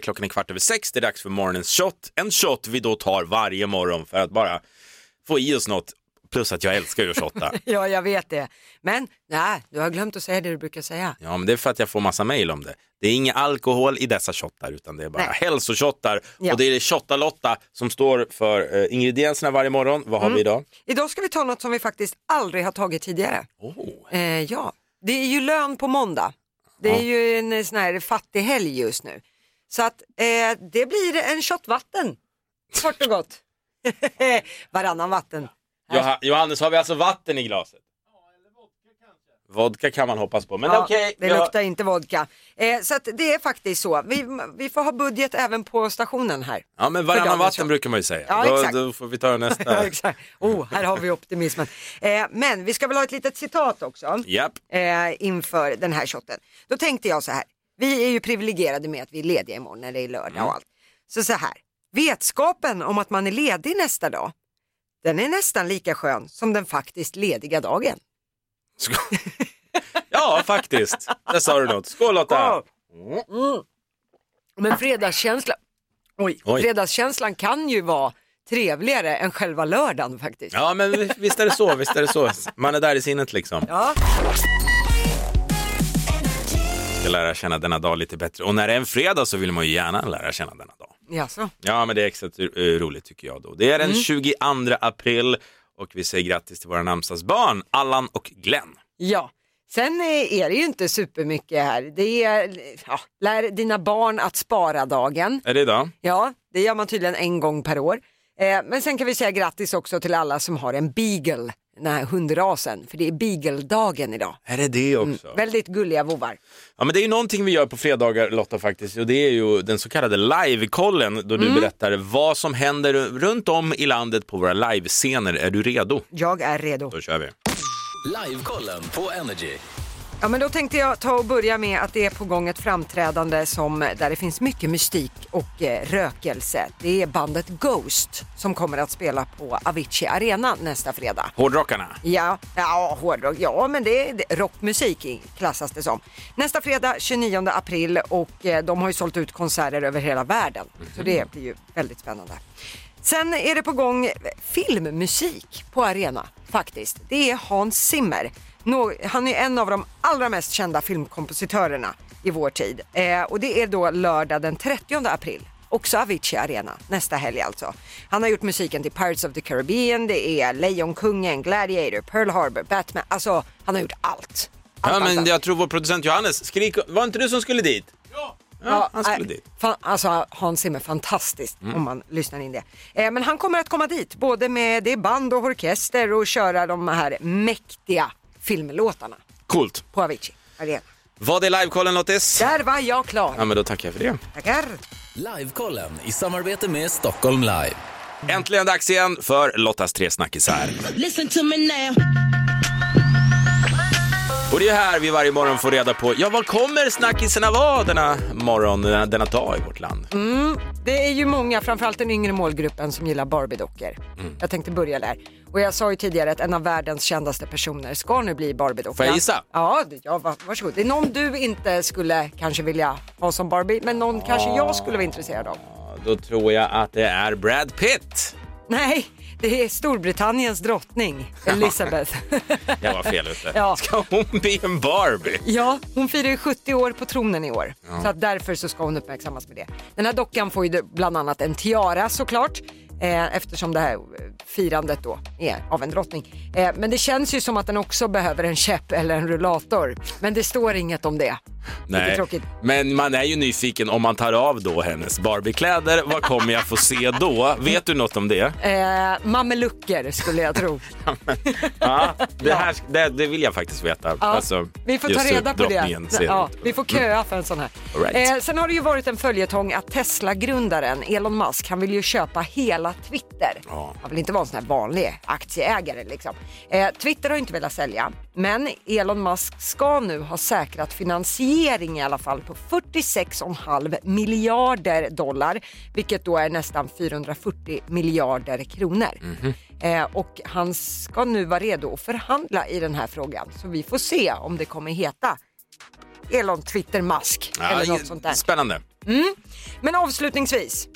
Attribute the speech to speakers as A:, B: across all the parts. A: klockan är kvart över sex. Det är dags för morgonens shot. En shot vi då tar varje morgon för att bara få i oss något. Plus att jag älskar ju att shotta.
B: Ja, jag vet det. Men nej, du har glömt att säga det du brukar säga.
A: Ja, men det är för att jag får massa mejl om det. Det är ingen alkohol i dessa shottar utan det är bara
B: Nej.
A: hälsoshottar.
B: Ja.
A: Och det är shotta-Lotta som står för eh, ingredienserna varje morgon. Vad har
B: Mm.
A: vi idag?
B: Idag ska vi ta något som vi faktiskt aldrig har tagit tidigare.
A: Oh.
B: Eh, ja, det är ju lön på måndag. Det är ju en eh, sån här fattig helg just nu. Så att eh, det blir en shot vatten, kort och gott. Varannan vatten.
A: Joha- Johannes, har vi alltså vatten i glaset? Vodka kan man hoppas på, men
B: Ja,
A: okej.
B: det
A: vi har-
B: luktar inte vodka. Eh, så att det är faktiskt så. Vi, vi får ha budget även på stationen här.
A: Ja, men varannan
B: dagens
A: vatten
B: shot.
A: brukar man ju säga.
B: Ja,
A: då,
B: exakt.
A: då får vi ta
B: Ja,
A: nästa.
B: exakt. Oh, här har vi optimismen. Eh, men vi ska väl ha ett litet citat också
A: Japp.
B: eh, inför den här shotten. Då tänkte jag så här, vi är ju privilegierade med att vi är lediga imorgon när det är lördag
A: Mm.
B: och allt. Så så här, vetskapen om att man är ledig nästa dag, den är nästan lika skön som den faktiskt lediga dagen.
A: Skål. Ja, faktiskt. Där sa du något. Skål Lotta!
B: Mm. Men fredagskänslan, oj,
A: Oj.
B: fredagskänslan kan ju vara trevligare än själva lördagen faktiskt.
A: Ja, men vi- visst är det så. Visst är det så. Man är där i sinnet liksom.
B: Ja.
A: Ska lära känna denna dag lite bättre. Och när det är en fredag så vill man ju gärna lära känna denna dag.
B: Jaså.
A: Ja, men det är extra eh, roligt tycker jag då. Det är den 22 april och vi säger grattis till våra namnsdagsbarn Allan och Glenn.
B: Ja, sen eh, är det ju inte supermycket här. Det är, ja, lär dina barn att spara-dagen.
A: Är det idag?
B: Ja, det gör man tydligen en gång per år. Eh, men sen kan vi säga grattis också till alla som har en beagle, den här hundrasen, för det är beagle-dagen idag.
A: Är det det också?
B: Väldigt gulliga vovvar.
A: Ja, men det är ju någonting vi gör på fredagar Lotta faktiskt och det är ju den så kallade livekollen då
B: Mm.
A: du berättar vad som händer runt om i landet på våra livescener. Är du redo?
B: Jag är redo.
A: Då kör vi.
C: Livekollen på Energy.
B: Ja, men då tänkte jag ta och börja med att det är på gång ett framträdande som, där det finns mycket mystik och eh, rökelse. Det är bandet Ghost som kommer att spela på Avicii Arena nästa fredag.
A: Hårdrockarna.
B: Ja, ja hårdrock. Ja, men det är det- rockmusik klassas det som. Nästa fredag 29 april och eh, de har ju sålt ut konserter över hela världen. Så det blir ju väldigt spännande. Sen är det på gång filmmusik på arena faktiskt. Det är Hans Zimmer. Nå- Han är en av de allra mest kända filmkompositörerna i vår tid. Eh, och det är då lördag den 30 april Också Avicii Arena nästa helg alltså. Han har gjort musiken till Pirates of the Caribbean, det är Lejonkungen, Gladiator, Pearl Harbor, Batman. Alltså, han har gjort allt. allt
A: Ja, men
B: allt,
A: jag tror vår producent Johannes, skrik, var inte du som skulle dit? Ja, han skulle
B: nej,
A: dit.
B: äh,
A: Mm.
B: Fan, alltså Hans Zimmer, fantastiskt om man lyssnar in det. Eh, men han kommer att komma dit, både med det är band och orkester och köra de här mäktiga filmlåtarna
A: Coolt.
B: på Avicii Arena.
A: Vad är livekollen Lottis?
B: Där var jag klar.
A: Ja, men då tackar jag för det.
B: Tackar.
C: Livekollen i samarbete med Stockholm Live.
A: Äntligen dags igen för Lottas tre snackisar.
D: Listen to me now.
A: Och det är här vi varje morgon får reda på, ja vad kommer snackisarna vara denna morgon, denna, denna dag i vårt land?
B: Mm. Det är ju många, framförallt den yngre målgruppen, som gillar Barbie-dockor.
A: Mm.
B: Jag tänkte börja där. Och jag sa ju tidigare att en av världens kändaste personer ska nu bli Barbie-docka.
A: Får jag gissa?
B: Ja, det- ja va- varsågod. Det är någon du inte skulle kanske vilja ha som Barbie, men någon kanske
A: Ah.
B: jag skulle vara intresserad av.
A: Ja, Då tror jag att det är Brad Pitt.
B: Nej, det är Storbritanniens drottning, Elizabeth.
A: Jag var fel ute.
B: Ja.
A: Ska hon bli en Barbie?
B: Ja, hon firar ju 70 år på tronen i år. Så att därför så ska hon uppmärksammas med det. Den här dockan får ju bland annat en tiara såklart. Eh, eftersom det här eh, firandet då är av en drottning. Eh, men det känns ju som att den också behöver en käpp eller en rullator. Men det står inget om det. Lite tråkigt.
A: Men man är ju nyfiken om man tar av då hennes Barbiekläder. Vad kommer jag få se då? Vet du något om det?
B: Eh, mamelucker skulle jag tro.
A: Ja, det, här, det, det vill jag faktiskt veta.
B: Ja,
A: Alltså,
B: vi får ta
A: just hur
B: reda på det.
A: drottningen Ser
B: Ja,
A: ut.
B: vi får köa för en sån här.
A: All right.
B: Eh, sen har det ju varit en följetong att Tesla-grundaren Elon Musk, han vill ju köpa hela Twitter.
A: Ja.
B: Han vill inte vara en sån här vanlig aktieägare liksom. Eh, Twitter har ju inte velat sälja, men Elon Musk ska nu ha säkrat finansiering i alla fall på 46,5 miljarder dollar, vilket då är nästan 440 miljarder kronor.
A: Mhm.
B: Eh, och han ska nu vara redo att förhandla i den här frågan, så vi får se om det kommer heta Elon Twitter Musk
A: Ja,
B: eller något sånt där.
A: Spännande.
B: Men avslutningsvis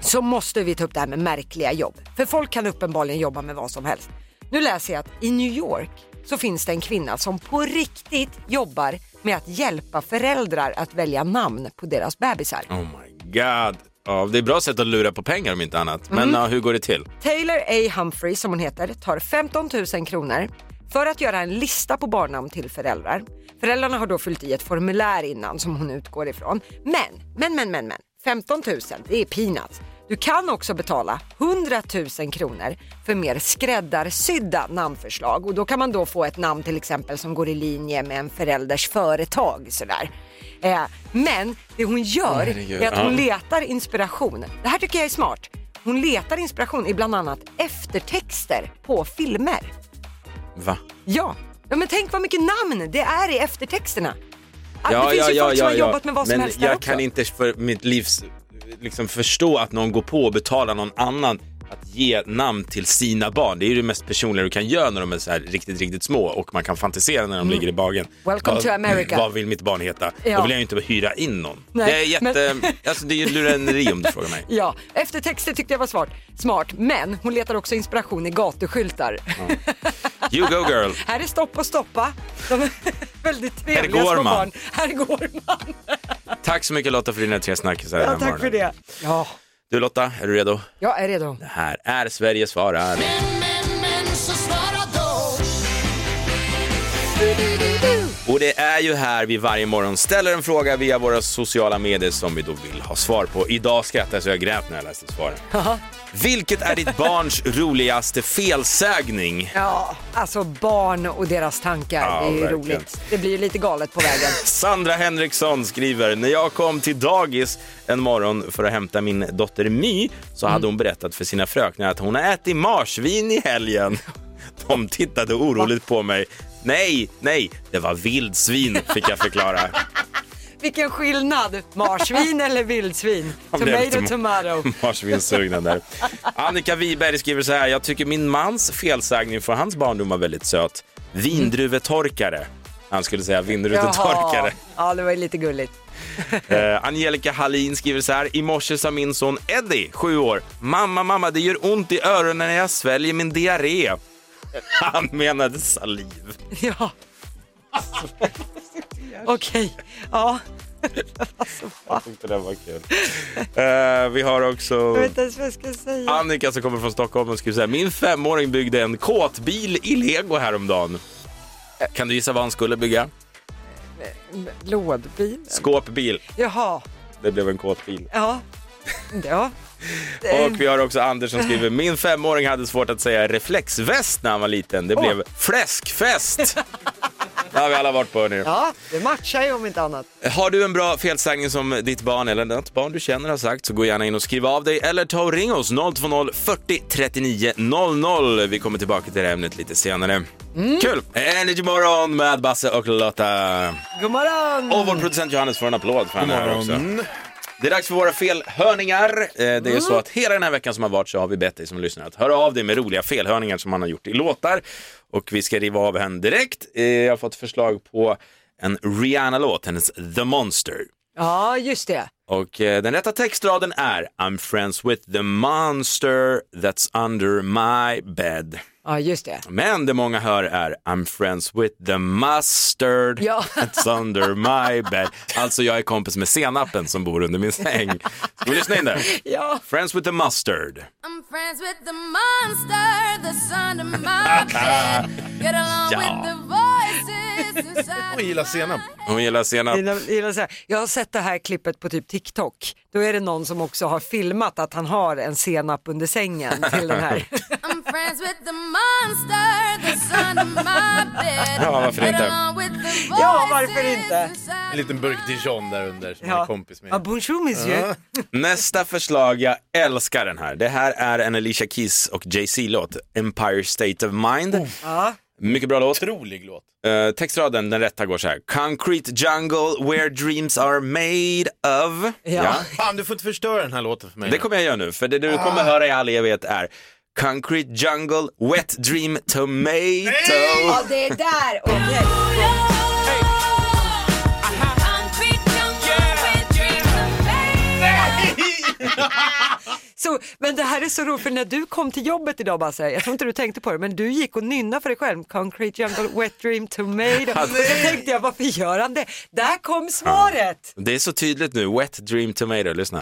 B: så måste vi ta upp det här med märkliga jobb. För folk kan uppenbarligen jobba med vad som helst. Nu läser jag att i New York så finns det en kvinna som på riktigt jobbar med att hjälpa föräldrar att välja namn på deras bebisar.
A: Oh my god. Ja, det är bra sätt att lura på pengar om inte annat. Men
B: Mm.
A: ja, hur går det till?
B: Taylor A. Humphrey, som hon heter, tar 15 000 kronor för att göra en lista på barnnamn till föräldrar. Föräldrarna har då fyllt i ett formulär innan som hon utgår ifrån. Men, men, men, men, men, 15 000, det är peanuts. Du kan också betala 100 000 kronor för mer skräddarsydda namnförslag och då kan man då få ett namn till exempel som går i linje med en förälders företag sådär. Eh, men det hon gör
A: Herregud,
B: är att hon
A: ja.
B: letar inspiration. Det här tycker jag är smart. Hon letar inspiration i bland annat eftertexter på filmer.
A: Va?
B: Ja, ja men tänk vad mycket namn det är i eftertexterna. Att det finns ju folk som har jobbat med vad som
A: men
B: helst där
A: jag
B: också.
A: kan inte för mitt livs liksom förstå att någon går på och betalar någon annan att ge namn till sina barn. Det är ju det mest personliga du kan göra när de är så här riktigt, riktigt små och man kan fantisera när de ligger i bagen.
B: Mm. Welcome
A: vad,
B: to America.
A: Vad vill mitt barn heta?
B: Ja.
A: Då vill jag ju inte hyra in någon.
B: Nej,
A: det är jätte...
B: men-
A: alltså, det är ju lurendrejeri om du frågar mig.
B: Ja, eftertexter tyckte jag var smart. smart. Men hon letar också inspiration i gatuskyltar.
A: You go girl.
B: Här är stopp och stoppa. De är väldigt trevliga
A: går
B: små
A: man.
B: barn. Här går man.
A: Tack så mycket Lotta för dina tre snackisar den
B: Ja,
A: här
B: tack för
A: morgonen.
B: det. Ja,
A: Du Lotta, är du redo?
B: jag är redo.
A: Det här är Sverige svarar. Och det är ju här vi varje morgon ställer en fråga via våra sociala medier som vi då vill ha svar på. Idag skrattade jag så jag grät när jag läste svaren. Vilket är ditt barns roligaste felsägning?
B: Ja, alltså barn och deras tankar.
A: Ja,
B: det är ju
A: verkligen.
B: roligt. Det blir ju lite galet på vägen.
A: Sandra Henriksson skriver, när jag kom till dagis en morgon för att hämta min dotter My så hade hon berättat för sina fröknar att hon har ätit marsvin i helgen. De tittade oroligt på mig. Nej, nej, det var vildsvin fick jag förklara.
B: Vilken skillnad! Marsvin eller vildsvin?
A: Han blev
B: Tomato,
A: lite
B: tomato.
A: Marsvinssugna där. Annika Wiberg skriver så här. Jag tycker min mans felsägning för hans barndom var väldigt söt. Vindruvetorkare. Han skulle säga vindruvetorkare.
B: Ja, det var ju lite gulligt.
A: Eh, Angelica Hallin skriver så här. I morse sa min son Eddie, sju år. Mamma, mamma, det gör ont i öronen när jag sväljer min diarré. Han menade saliv.
B: Ja. Okej, ja.
A: Jag tyckte det var kul. Eh, vi har också...
B: Jag vet inte ens vad jag ska säga.
A: Annika som kommer från Stockholm och skriver så här. Min femåring byggde en kåtbil i lego häromdagen. Kan du gissa vad han skulle bygga?
B: Lådbil?
A: Skåpbil.
B: Jaha,
A: Det blev en kåtbil.
B: ja. Ja.
A: Och vi har också Anders som skriver. Min femåring hade svårt att säga reflexväst när han var liten. Det blev fläskfest. Det har vi alla varit på hörni.
B: ja, det matchar ju om inte annat.
A: Har du en bra felsägning som ditt barn eller något barn du känner har sagt så gå gärna in och skriv av dig eller ta och ring oss 020 40 39 00. Vi kommer tillbaka till det här ämnet lite senare. Kul! Energy morgon med Basse och Lotta.
B: God morgon!
A: Och vår producent Johannes får en applåd för han är här också. Det är dags för våra felhörningar. Eh, Det är ju så att hela den här veckan som har varit så har vi bett dig som lyssnar att höra av dig med roliga felhörningar som man har gjort i låtar. Och vi ska riva av henne direkt. Eh, Jag har fått förslag på en Rihanna-låt, hennes The Monster.
B: Ja, just det.
A: Och eh, den rätta textraden är I'm friends with the monster that's under my bed.
B: Ja, just det.
A: Men det många hör är I'm friends with the mustard
B: Ja.
A: that's under my bed. Alltså jag är kompis med senapen som bor under min säng. Ska vi lyssna in där?
B: Ja.
A: Friends with the mustard.
D: I'm friends with the monster that's under my bed. Get along with the voices inside
E: Jag gillar senap.
A: Hon gillar senap.
B: Gillar- gillar så här. Jag har sett det här klippet på typ TikTok. Då är det någon som också har filmat att han har en senap under sängen till den här.
D: I'm friends with the monster that's under my bed.
A: Ja, varför
D: Get
A: inte?
D: along with the
B: Ja, varför
D: voices
B: inte?
D: inside
E: En liten burk dijon där under som jag är kompis med.
B: ja bonjour monsieur.
A: Nästa förslag, jag älskar den här. Det här är en Alicia Keys och Jay-Z-låt, Empire State of Mind. Mycket bra låt.
E: Otrolig låt.
A: Eh, textraden, den rätta går så här. Concrete jungle where dreams are made of.
B: Ja.
E: Fan, du får inte förstöra den här låten för mig.
A: Det kommer jag göra nu, för det du kommer höra i all evighet är Concrete jungle, wet dream tomato.
B: Ja, det är där. Okej.
D: Concrete jungle with dreams of pain.
B: så, men det här är så roligt för när du kom till jobbet idag bara så här, jag tror inte du tänkte på det, men du gick och nynnade för dig själv, Concrete Jungle, Wet Dream Tomato. Och så tänkte jag, varför gör han det? Där kom svaret!
A: Det är så tydligt nu, Wet Dream Tomato, lyssna.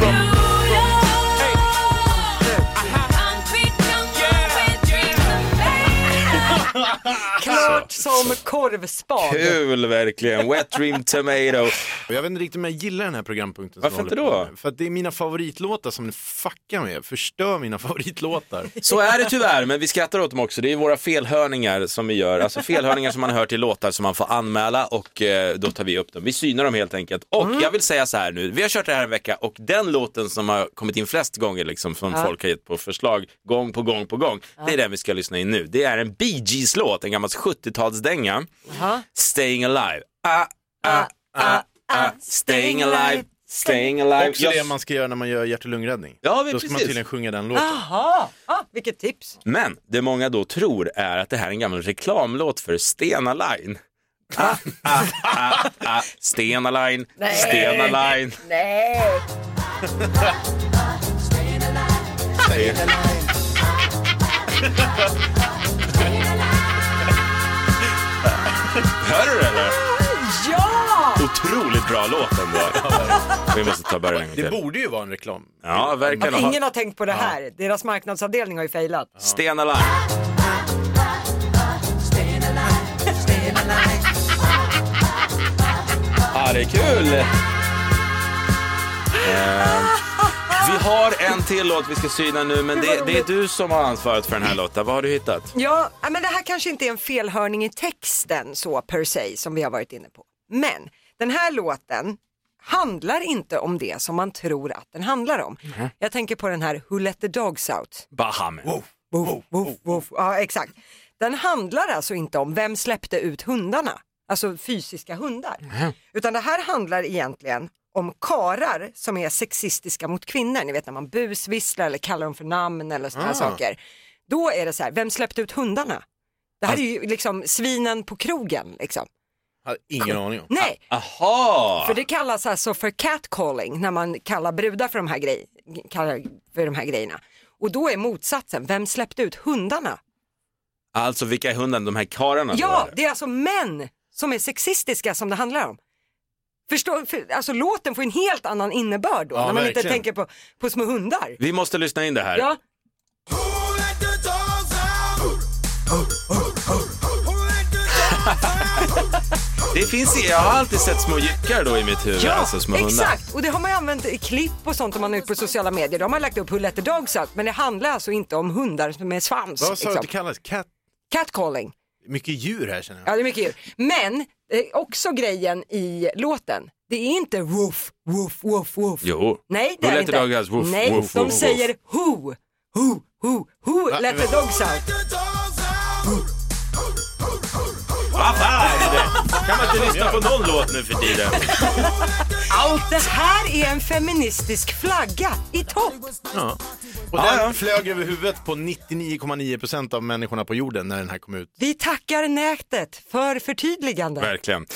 B: Klart som korvspad.
A: Kul verkligen, Wet Dream Tomato.
E: Och jag vet inte riktigt om jag gillar den här programpunkten. som
A: Varför
E: jag
A: inte
E: håller på
A: då?
E: med. För att det är mina favoritlåtar som ni fuckar med, förstör mina favoritlåtar.
A: Så är det tyvärr, men vi skrattar åt dem också. Det är våra felhörningar som vi gör, alltså felhörningar som man hör till låtar som man får anmäla och eh, då tar vi upp dem. Vi synar dem helt enkelt. Och jag vill säga så här nu, vi har kört det här en vecka och den låten som har kommit in flest gånger liksom, som folk har gett på förslag gång på gång på gång, det är den vi ska lyssna in nu. Det är en Bee Gees-låt, en gammal 70-talsdänga,
B: Jaha.
A: Staying Alive. Ah, ah, ah, ah, staying alive, staying alive.
E: Också det man ska göra när man gör hjärt och lungräddning.
A: Ja, men
E: Då ska man
A: precis.
E: tydligen sjunga den låten.
B: Jaha, ah, vilket tips.
A: Men det många då tror är att det här är en gammal reklamlåt för Stena Line. Ah, ah, ah, ah. Stena Line, Stena Line.
B: Nej.
A: Hör du det eller?
B: Ja!
A: Otroligt bra låt ändå. Vi måste ta början en gång
E: Det
A: till.
E: borde ju vara en reklam.
A: Ja, verkligen.
B: Att ingen har tänkt på det här. Deras marknadsavdelning har ju failat.
A: Stena Line. Ja, det är kul. Eh, Vi har en till låt vi ska syna nu, men det, det är du som har ansvaret för den här Lotta. Vad har du hittat?
B: Ja, ja, men det här kanske inte är en felhörning i texten så per se som vi har varit inne på. Men den här låten handlar inte om det som man tror att den handlar om. Jag tänker på den här Who Let The Dogs Out.
A: Baham.
B: Woof, woof, woof. Ja, exakt. Den handlar alltså inte om vem släppte ut hundarna, alltså fysiska hundar. Utan det här handlar egentligen om karar som är sexistiska mot kvinnor. Ni vet när man busvisslar eller kallar dem för namn eller sådana här saker. Då är det så här, vem släppte ut hundarna? Det här är ju liksom svinen på krogen liksom.
E: Jag hade ingen aning om.
B: Nej,
A: Aha!
B: för det kallas alltså för catcalling när man kallar brudar för de här, grej, kallar för de här grejerna. Och då är motsatsen, vem släppte ut hundarna?
A: Alltså vilka är hunden? De här karlarna? då,
B: Ja,
A: eller?
B: det är alltså män som är sexistiska som det handlar om. Förstår, för, alltså låten får en helt annan innebörd då,
E: Ja,
B: när man inte
E: verkligen.
B: tänker på, på små hundar.
A: Vi måste lyssna in det här.
B: Ja,
A: Det finns, jag har alltid sett små jyckar då i mitt huvud,
B: ja
A: alltså små hundar.
B: exakt. Och det har man ju använt i klipp och sånt om man är ute på sociala medier. Då har man lagt upp Who Let The Dogs Out, men det handlar alltså inte om hundar med svans.
E: Vad sa du
B: liksom.
E: att det kallas? Cat...
B: Catcalling.
E: Mycket djur här känner jag.
B: Ja, det är mycket djur. Men eh, också grejen i låten, det är inte woof, woof, woof, woof.
A: Jo.
B: Nej, det
A: Who
B: är
A: let
B: inte.
A: the dog out? Woof,
B: Nej,
A: woof,
B: de
A: woof,
B: säger who, who, who, who let the dogs out.
A: Vad fan är det? Kan man inte lyssna på någon låt nu för tiden?
B: Det här är en feministisk flagga i topp.
E: Och den flög över huvudet på 99,9% av människorna på jorden när den här kom ut.
B: Vi tackar nätet för förtydligande.
A: Verkligen.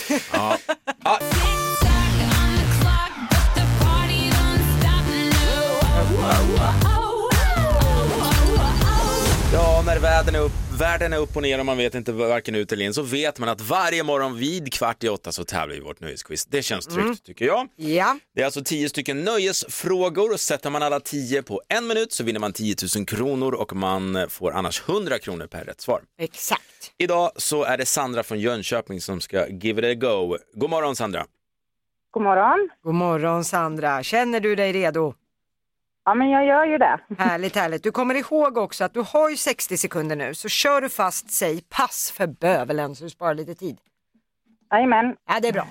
A: Ja, när världen är, upp, världen är upp och ner och man vet inte varken ut eller in så vet man att varje morgon vid kvart i åtta så tävlar vi i vårt nöjesquiz. Det känns tryggt tycker jag.
B: Ja,
A: Det är alltså tio stycken nöjesfrågor. Sätter man alla tio på en minut så vinner man 10 000 kronor och man får annars 100 kronor per rätt svar.
B: exakt.
A: Idag så är det Sandra från Jönköping som ska give it a go. God morgon Sandra!
F: God morgon.
B: God morgon Sandra, känner du dig redo?
F: Ja, men jag gör ju det.
B: Härligt, härligt. Du kommer ihåg också att du har ju 60 sekunder nu, så kör du fast, säg pass för bövelen så du sparar lite tid.
F: Jajamän.
B: Ja, det är bra.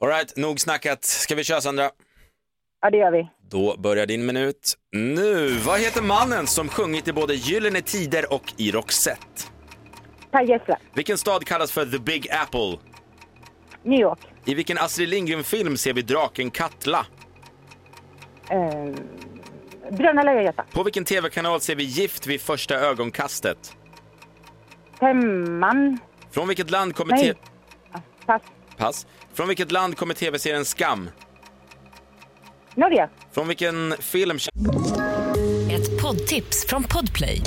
A: Alright, nog snackat. Ska vi köra Sandra?
F: Ja, det gör vi.
A: Då börjar din minut nu. Vad heter mannen som sjungit i både Gyllene Tider och i Roxette?
F: Per Gessle,
A: Vilken stad kallas för The Big Apple?
F: New York.
A: I vilken Astrid Lindgren-film ser vi draken Katla?
F: Eh, Bröderna Lejonhjärta.
A: På vilken tv-kanal ser vi Gift vid första ögonkastet?
F: Femman.
A: Från vilket land kommer
F: Nej.
A: te-
F: Pass.
A: Pass. Från vilket land kommer tv-serien Skam?
F: Norge.
A: Från vilken film känner
G: Ett poddtips från Podplay.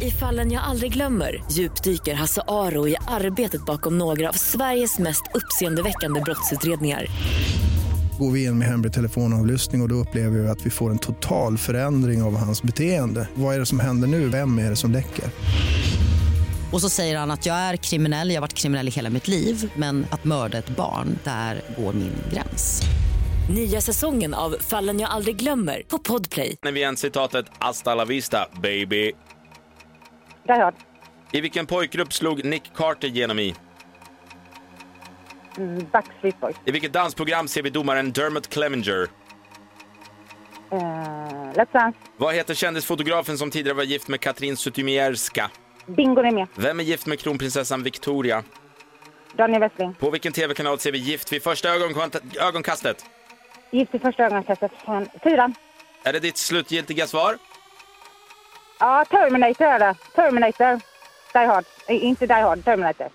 G: I fallen jag aldrig glömmer djupdyker Hasse Aro i arbetet bakom några av Sveriges mest uppseendeväckande brottsutredningar.
H: Går vi in med hemlig telefonavlyssning och, och då upplever vi att vi får en total förändring av hans beteende. Vad är det som händer nu? Vem är det som läcker?
I: Och så säger han att jag är kriminell, jag har varit kriminell i hela mitt liv men att mörda ett barn, där går min gräns.
G: Nya säsongen av Fallen jag aldrig glömmer på Podplay.
A: vi igen citatet “Hasta la vista, baby”?
F: Die Hard.
A: I vilken pojkgrupp slog Nick Carter genom i?
F: Mm, Backstreet Boys.
A: I vilket dansprogram ser vi domaren Dermot Clemenger?
F: Eh, Let's Dance.
A: Vad heter kändisfotografen som tidigare var gift med Katrin Zytomierska?
F: Bingon är med.
A: Vem är gift med kronprinsessan Victoria?
F: Daniel Westling.
A: På vilken tv-kanal ser vi Gift vid första ögonkont- ögonkastet?
F: Gift i första ögonkastet. Fan. Fyran.
A: Är det ditt slutgiltiga svar?
F: Ja, Terminator är det. Terminator. Die Hard. Eh, inte Die Hard, Terminator.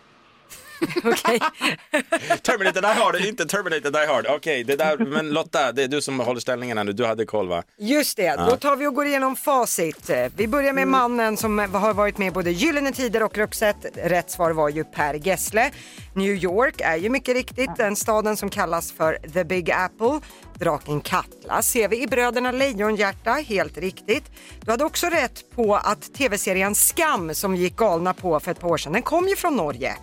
A: Terminator Die Hard, inte Terminator Die Hard. Okej, det där, men Lotta, det är du som håller ställningen här nu. Du hade koll va?
B: Just det, då tar vi och går igenom facit. Vi börjar med mannen som har varit med i både Gyllene Tider och Roxette. Rätt svar var ju Per Gessle. New York är ju mycket riktigt den staden som kallas för The Big Apple. Draken Katla ser vi i Bröderna Lejonhjärta, helt riktigt. Du hade också rätt på att tv-serien Skam som gick galna på för ett par år sedan, den kom ju från Norge.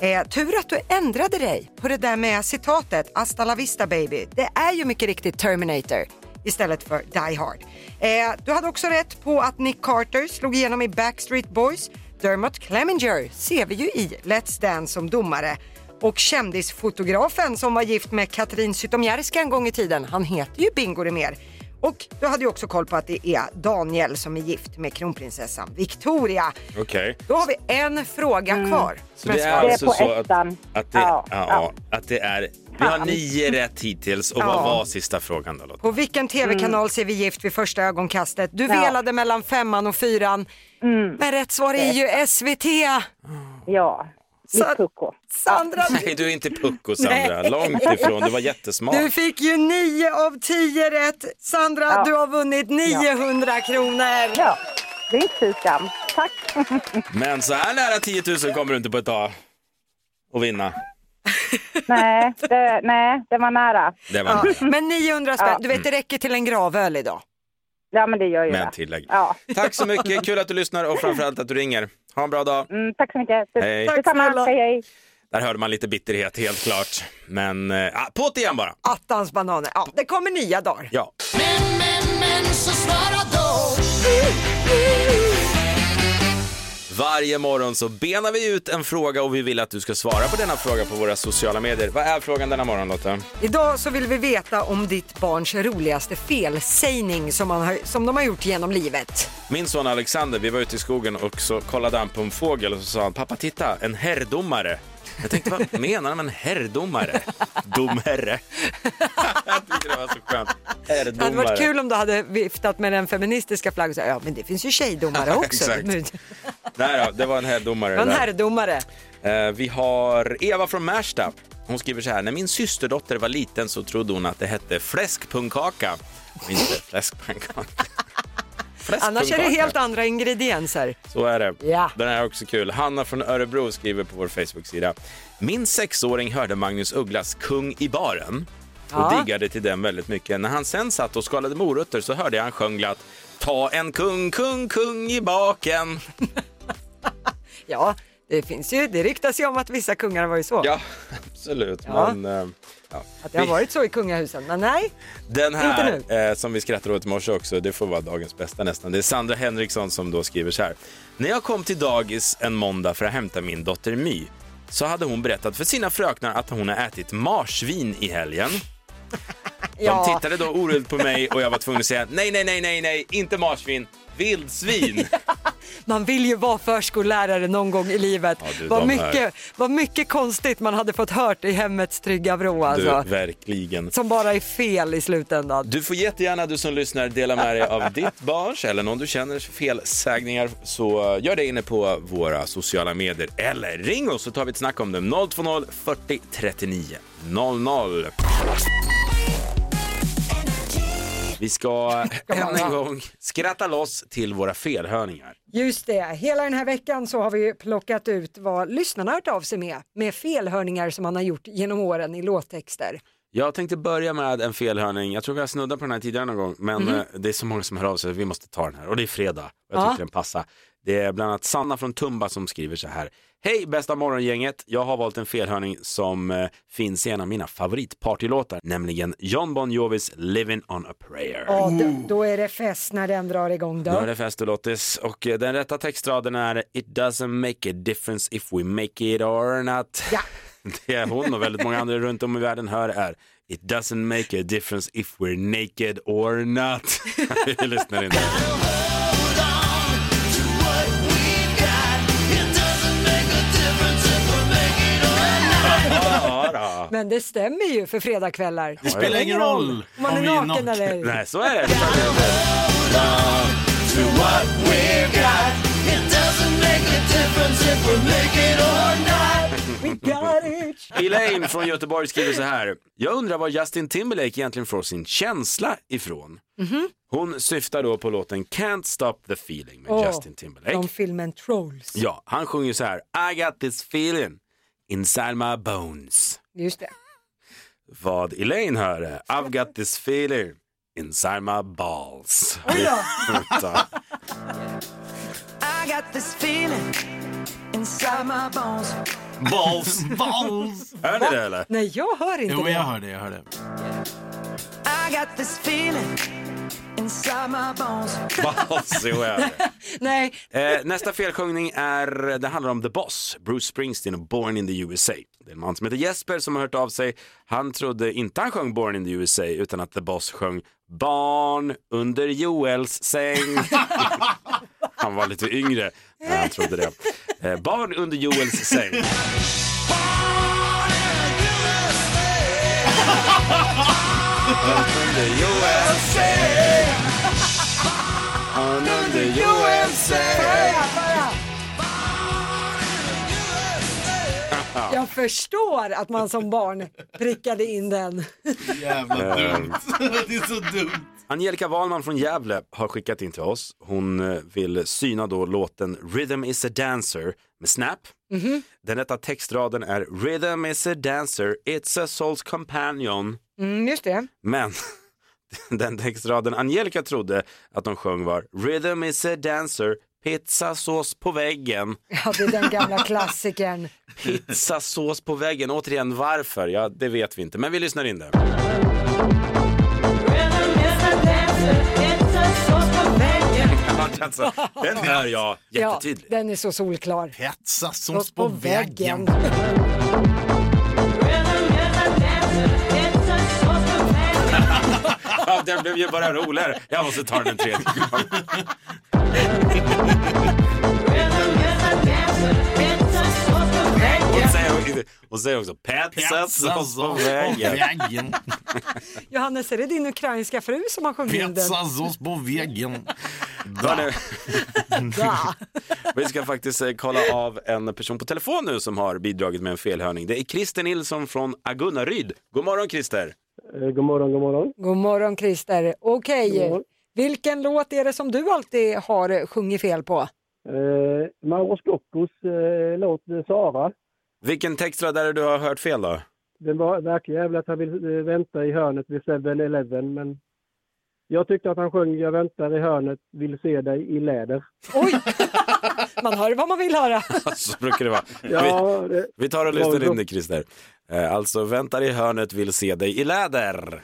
B: Eh, tur att du ändrade dig på det där med citatet “Hasta la vista baby”. Det är ju mycket riktigt Terminator istället för Die Hard. Eh, du hade också rätt på att Nick Carter slog igenom i Backstreet Boys. Dermot Clemenger ser vi ju i Let's Dance som domare. Och kändisfotografen som var gift med Katrin Zytomierska en gång i tiden, han heter ju Bingo mer. Och du hade ju också koll på att det är Daniel som är gift med kronprinsessan Victoria.
A: Okej.
B: Då har vi en fråga kvar.
A: Så
B: Men
A: det är
B: svaret-
F: Det är
A: alltså
F: på
A: så att,
F: ettan.
A: att, det, ja,
F: Ja,
A: ja,
F: ja.
A: att det är... Vi har
F: Fan.
A: nio rätt hittills och vad var sista frågan då Lotta?
B: På vilken tv-kanal ser vi Gift vid första ögonkastet? Du velade mellan femman och fyran. Men rätt svar är ju SVT.
F: Ja.
B: Så-
F: Mitt pucko.
B: Sandra,
A: Nej, du är inte pucko Sandra.
B: Nej.
A: Långt ifrån, du var jättesmart.
B: du fick ju 9 av 10 rätt. Sandra, du har vunnit 900 kronor.
F: Ja. Det är inte fy skam. Tack.
A: Men så här nära 10 000 kommer du inte på ett tag att vinna.
F: nej, det, nej, det var nära.
A: Det var nära.
B: Men 900 spänn, du vet det räcker till en gravöl idag.
F: Ja, men det gör ju
A: Med
F: det.
A: tillägg.
F: Ja.
A: Tack så mycket, kul att du lyssnar och framförallt att du ringer. Ha en bra dag.
F: Mm, tack så mycket. Det-
A: Hej.
B: Tack
F: Detsamma.
B: snälla.
F: Hej, hej.
A: Där hörde man lite bitterhet helt klart. Men eh, ah, på det igen bara.
B: Attans bananer. Ja, det kommer nya dagar.
A: Ja.
D: Men, men, men så svara då.
A: Varje morgon så benar vi ut en fråga och vi vill att du ska svara på denna fråga på våra sociala medier. Vad är frågan denna morgon Lotta?
B: Idag så vill vi veta om ditt barns roligaste felsägning som, man har, som de har gjort genom livet.
A: Min son Alexander, vi var ute i skogen och så kollade han på en fågel och så sa han, pappa titta, en herrdomare. Jag tänkte, vad menar han med en herrdomare? Domherre. jag tyckte det var så skönt. Herrdomare.
B: Det hade varit kul om du hade viftat med den feministiska flaggan och sagt ja men det finns ju tjejdomare också.
A: Exakt.
B: Nu-
A: Nej då, det var en herrdomare.
B: Det var en
A: där.
B: herrdomare.
A: Eh, Vi har Eva från Märsta. Hon skriver så här, när min systerdotter var liten så trodde hon att det hette fläskpungkaka. Och Inte fläskpannkaka.
B: Annars är det
A: Fläskpungkaka.
B: helt andra ingredienser.
A: Så är det.
B: Ja.
A: Den här är också kul. Hanna från Örebro skriver på vår Facebook-sida. Min sexåring hörde Magnus Ugglas Kung i baren och
B: Ja.
A: diggade till den väldigt mycket. När han sen satt och skalade morötter så hörde jag han sjöng glatt Ta en kung, kung, kung i baken.
B: Ja, det finns ju, det ryktas ju om att vissa kungar har varit så.
A: Ja, absolut.
B: Ja.
A: Men, eh, ja.
B: Att det har varit så i kungahusen, men nej.
A: Den
B: Inte
A: här eh, som vi skrattade åt i morse också, det får vara dagens bästa nästan. Det är Sandra Henriksson som då skriver så här. När jag kom till dagis en måndag för att hämta min dotter My så hade hon berättat för sina fröknar att hon har ätit marsvin i helgen.
B: Ja.
A: De tittade då oroligt på mig och jag var tvungen att säga nej, nej, nej, nej, nej, inte marsvin, vildsvin.
B: Man vill ju vara förskollärare någon gång i livet.
A: Ja, du,
B: vad,
A: de
B: mycket,
A: här.
B: vad mycket konstigt man hade fått hört i hemmets trygga vrå alltså.
A: Du, verkligen.
B: Som bara är fel i slutändan.
A: Du får jättegärna, du som lyssnar, dela med dig av ditt barns eller någon du känner felsägningar. Så eh, gör det inne på våra sociala medier eller ring oss så tar vi ett snack om det. 020 40 39 00. Vi ska än
B: bara-
A: en gång skratta loss till våra felhörningar.
B: Just det, hela den här veckan så har vi ju plockat ut vad lyssnarna har hört av sig med, med felhörningar som man har gjort genom åren i låttexter.
A: Jag tänkte börja med en felhörning. Jag tror vi har snuddat på den här tidigare någon gång, men eh, det är så många som hör av sig så vi måste ta den här. Och det är fredag och jag
B: Ja.
A: tyckte den passar. Det är bland annat Sanna från Tumba som skriver så här. Hej bästa morgongänget! Jag har valt en felhörning som eh, finns i en av mina favoritpartylåtar, nämligen John Bon Jovis Living on a prayer.
B: Ja,
E: Mm.
B: då, då är det fest när den drar igång
A: Då är
B: då.
A: det fest och Lottis och eh, den rätta textraden är It doesn't make a difference if we make it or not.
B: Ja.
A: Det hon och väldigt många andra runt om i världen hör är It doesn't make a difference if we're naked or not. Vi lyssnar in. Ja, då.
B: Men det stämmer ju för fredagkvällar.
E: Det spelar ingen roll
B: Om man
E: om
B: är
E: vi är
B: naken
E: naken.
B: eller ej.
A: Nej, så är det.
B: We got it.
A: Elaine från Göteborg skriver så här. Jag undrar var Justin Timberlake egentligen får sin känsla ifrån.
B: Mhm.
A: Hon syftar då på låten Can't Stop the Feeling med
B: Åh,
A: Justin Timberlake.
B: Från filmen Trolls.
A: Ja, han sjunger så här. I got this feeling inside my bones.
B: Just det.
A: Vad Elaine hör är I've got this feeling inside my balls.
B: Oj då.
A: Vänta.
E: Balls, balls.
A: Hör ni det eller?
B: Nej, jag hör inte
E: Jo,
B: det.
E: jag hör det, jag hör det.
A: Balls, jo, jag hör det.
B: Nej,
A: Eh, nästa felsjungning är, det handlar om The Boss, Bruce Springsteen och Born in the USA. Det är en man som heter Jesper som har hört av sig. Han trodde inte han sjöng Born in the USA utan att The Boss sjöng Barn under Joels säng. han var lite yngre när han trodde det. Eh, barn under Joels säng. Barn under Joels säng. Barn under Joels säng.
B: jag förstår att man som barn prickade in den.
E: Jävla dumt. Det är så dumt.
A: Angelica Wahlman från Gävle har skickat in till oss. Hon eh, vill syna då låten Rhythm is a dancer med Snap. Den rätta textraden är Rhythm is a dancer, it's a soul's companion.
B: Mm, just det.
A: Men den textraden Angelica trodde att de sjöng var Rhythm is a dancer, pizzasås på väggen.
B: Ja, det är den gamla klassikern.
A: Pizzasås på väggen. Återigen, varför? Ja, det vet vi inte, men vi lyssnar in det. Alltså, den hör jag
B: Ja,
A: jättetydligt.
B: den är så solklar.
E: Hetsa som
B: Slås
E: på väggen.
A: Ja, den blev ju bara roligare. Jag måste ta den en tredje gång. Hon säger, hon säger också pizzasås på vägen.
E: väggen.
B: Johannes, är det din ukrainska fru som har sjungit in den?
E: Pizzasås på väggen.
A: Hörni,
B: Ja.
A: Vi ska faktiskt eh, kolla av en person på telefon nu som har bidragit med en felhörning. Det är Christer Nilsson från Agunnaryd. God morgon Christer!
J: Eh, God morgon, god morgon.
B: God morgon Christer. Okej, vilken låt är det som du alltid har sjungit fel på?
J: Eh, Mauro Scoccos eh, låt eh, Sara.
A: Vilken textrad är det du har hört fel då?
J: Den var verkligen jävla att han vill eh, vänta i hörnet vid 7-Eleven, men jag tyckte att han sjöng Jag väntar i hörnet, vill se dig i läder.
B: Oj, man hör vad man vill höra.
A: Så brukar det vara. Vi,
J: Ja, det,
A: vi tar och lyssnar in det Christer. Eh, Alltså väntar i hörnet, vill se dig i läder.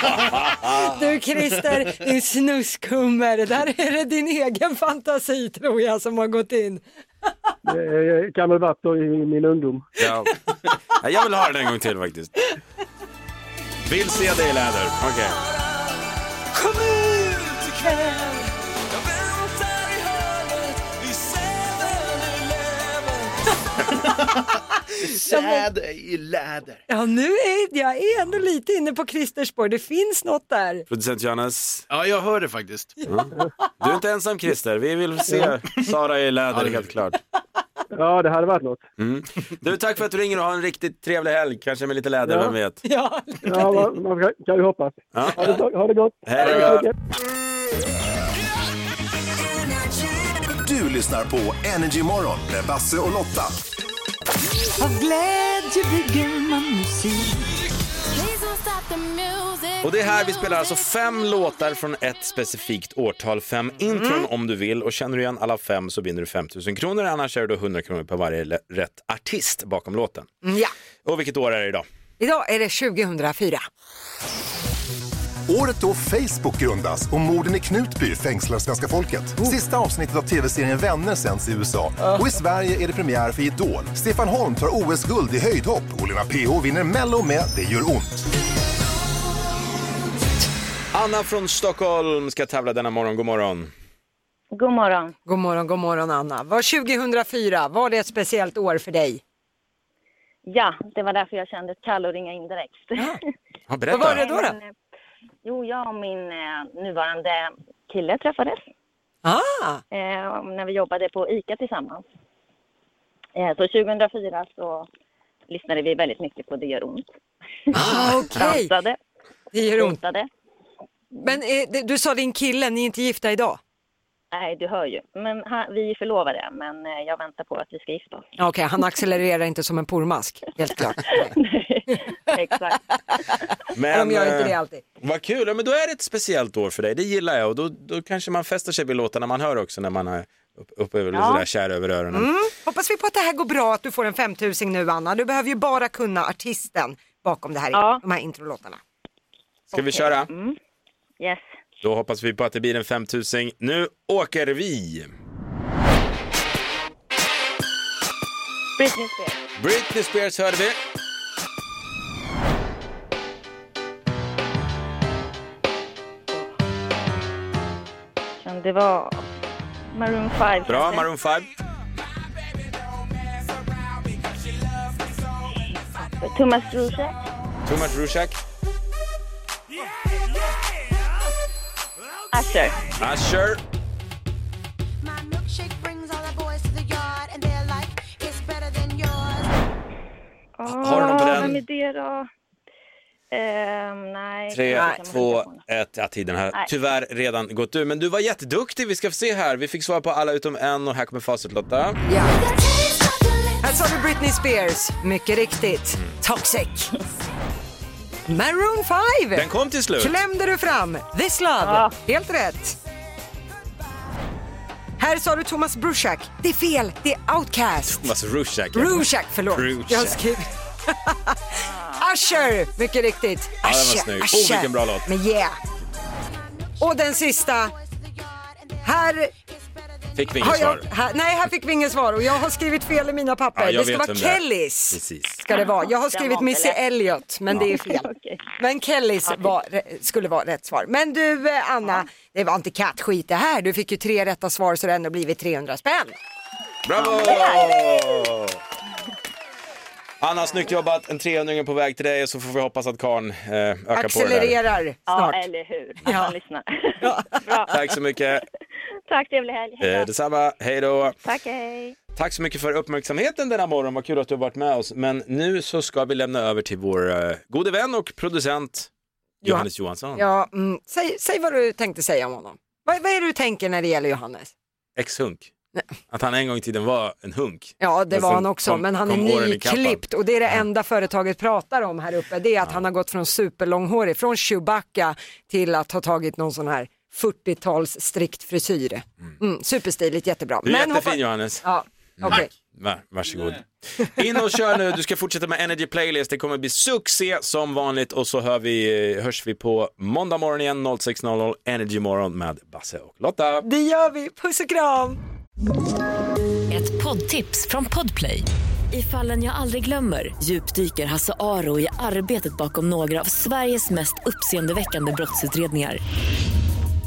B: Du Christer, din snuskummer, där är det din egen fantasi tror jag som har gått in.
J: det eh, kan väl varit då i min ungdom.
A: Ja. Nej, Jag vill ha den en gång till faktiskt. Vill se dig i läder. Okej.
E: Säd i läder.
B: Ja, nu är jag är ändå lite inne på Christersborg. Det finns något där.
A: Producent Johannes.
E: Ja, jag hör det faktiskt.
A: Du är inte ensam Christer, vi vill se Sara i läder helt klart.
J: Ja, det hade varit något.
A: Mm. Du, tack för att du ringer och ha en riktigt trevlig helg, kanske med lite läder,
J: Ja.
A: vem vet.
B: Ja,
J: Ja, man, man kan- kan ju hoppas.
A: Ja.
J: Ha det, ha det gott!
A: Hej då.
K: Du lyssnar på Energy Morgon med Basse och Lotta.
L: Av glädje bygger man musik.
D: Please don't stop the music.
A: Och det är här vi spelar alltså fem låtar från ett specifikt årtal, fem intron
J: Mm.
A: om du vill och känner du igen alla fem så vinner du 5 000 kronor, annars är det då 100 kronor per varje le- rätt artist bakom låten.
B: Mm, Ja.
A: Och vilket år är det idag?
B: Idag är det 2004.
K: Året då Facebook grundas och morden i Knutby fängslar svenska
H: Oh.
K: folket. Sista avsnittet av tv-serien Vänner sänds i USA. Och i Sverige är det premiär för Idol. Stefan Holm tar OS-guld i höjdhopp och Lena PH vinner Mello med Det gör ont.
A: Anna från Stockholm ska tävla denna morgon, god morgon.
B: God morgon. God morgon, god morgon Anna. Var 2004, var det ett speciellt år för dig?
M: Ja, det var därför jag kände ett kall att ringa in direkt.
A: Ja, berätta.
B: Vad var det då? då?
M: Men, eh, Jo, jag och min eh, nuvarande kille träffades
B: Ah.
M: eh, när vi jobbade på ICA tillsammans. Eh, så 2004 så lyssnade vi väldigt mycket på Det gör ont.
B: Ah, okej.
M: Dansade.
B: Det gör ont.
M: Dansade.
B: Men eh, det- du sa din kille, ni är inte gifta idag?
M: Nej, du hör ju. Men han, vi är förlovade, men eh, jag väntar på att vi ska gifta oss.
B: Ja, Okej, han accelererar inte som en pormask, helt klart.
M: Exakt.
B: De gör inte
A: eh,
B: det alltid.
A: Vad kul, ja, men då är det ett speciellt år för dig, det gillar jag och då, då kanske man fäster sig vid låtarna man hör också när man är upp, upp över,
B: Ja.
A: sådär kär över öronen.
B: Mm. Hoppas vi på att det här går bra, att du får en 5000 nu Anna. Du behöver ju bara kunna artisten bakom det här, de här introlåtarna.
A: Ska vi köra?
B: Mm.
M: Yes.
A: Då hoppas vi på att det blir en 5000. Nu åker vi!
M: Britney Spears.
A: Britney Spears hörde vi.
M: Men Det var Maroon 5.
A: Bra, Maroon 5.
M: Thomas Ruse.
A: Thomas Rusiak.
M: Asher.
A: Usher.
D: My milkshake brings all the boys to the yard and they're like, it's better than yours.
A: Har de på
M: Ah,
A: den?
M: Vem är det då? Ehm, nej.
A: Tre,
M: Nej.
A: två, ett. Ja, tiden har
M: Nej.
A: tyvärr redan gått ur. Men du var jätteduktig. Vi ska få se här. Vi fick svar på alla utom en och här kommer facit Lotta.
B: Här sa du Britney Spears, mycket riktigt. Toxic. Maroon 5!
A: Den kom till slut.
B: Klämde du fram. This Love,
A: Ja.
B: helt rätt. Här sa du Thomas Brusiak. Det är fel, det är Outcast.
A: Thomas Rusiak.
B: Rusiak, förlåt.
A: Rusiak.
B: Jag har skrivit- Usher, mycket riktigt.
A: Ja, den var
B: Usher,
A: snygg.
B: Usher.
A: Oh, vilken bra låt.
B: Men yeah. Och den sista. Här
A: Fick vi
B: har
A: inget
B: jag,
A: svar.
B: här, nej, här fick vi inget svar och jag har skrivit fel i mina papper.
A: Ja, jag
B: det
A: vet
B: ska vara
A: vem det är.
B: Kellys.
A: Precis.
B: Ska det vara. Jag har
M: Den
B: skrivit
M: var inte
B: Missy
M: lätt.
B: Elliot, men
M: Ja.
B: det är fel. Men Kellys var, skulle vara rätt svar. Men du eh, Anna, det var inte kattskit det här. Du fick ju tre rätta svar så det har ändå blivit 300 spänn.
A: Bravo! Anna, snyggt jobbat. En 300 är på väg till dig och så får vi hoppas att karln eh, ökar på
B: Accelererar snart.
M: Ja, eller hur. Att man lyssnar. Bra.
A: det där. Tack så mycket.
M: Tack, trevlig helg. Hej
A: Eh,
M: då.
A: detsamma. Hej då.
M: Tack, hej.
A: Tack så mycket för uppmärksamheten denna morgon. Vad kul att du har varit med oss. Men nu så ska vi lämna över till vår eh, gode vän och producent Johannes Johansson.
B: Ja, mm, säg, säg vad du tänkte säga om honom. Vad, vad är det du tänker när det gäller Johannes?
A: Ex-hunk. Att han en gång i tiden var en hunk.
B: Ja, det
A: Men
B: var
A: sen
B: han
A: Alltså,
B: också,
A: kom-
B: men han är
A: kom åren ikapp han.
B: nyklippt och det är det enda företaget pratar om här uppe. Det är att han har gått från superlånghårig, från Chewbacca till att ha tagit någon sån här 40-tals strikt frisyr. Mm, superstiligt, jättebra.
A: Du är jättefin Mm.
B: hoppas-
A: Johannes.
B: Ja, okej.
A: Va, varsågod. In och kör nu. Du ska fortsätta med Energy Playlist. Det kommer bli succé som vanligt och så hör vi, hörs vi på måndag morgon igen 06.00 Energy Morgon med Basse och Lotta.
B: Det gör vi, puss och kram!
G: Ett poddtips från Podplay. I fallen jag aldrig glömmer djupdyker Hasse Aro i arbetet bakom några av Sveriges mest uppseendeväckande brottsutredningar.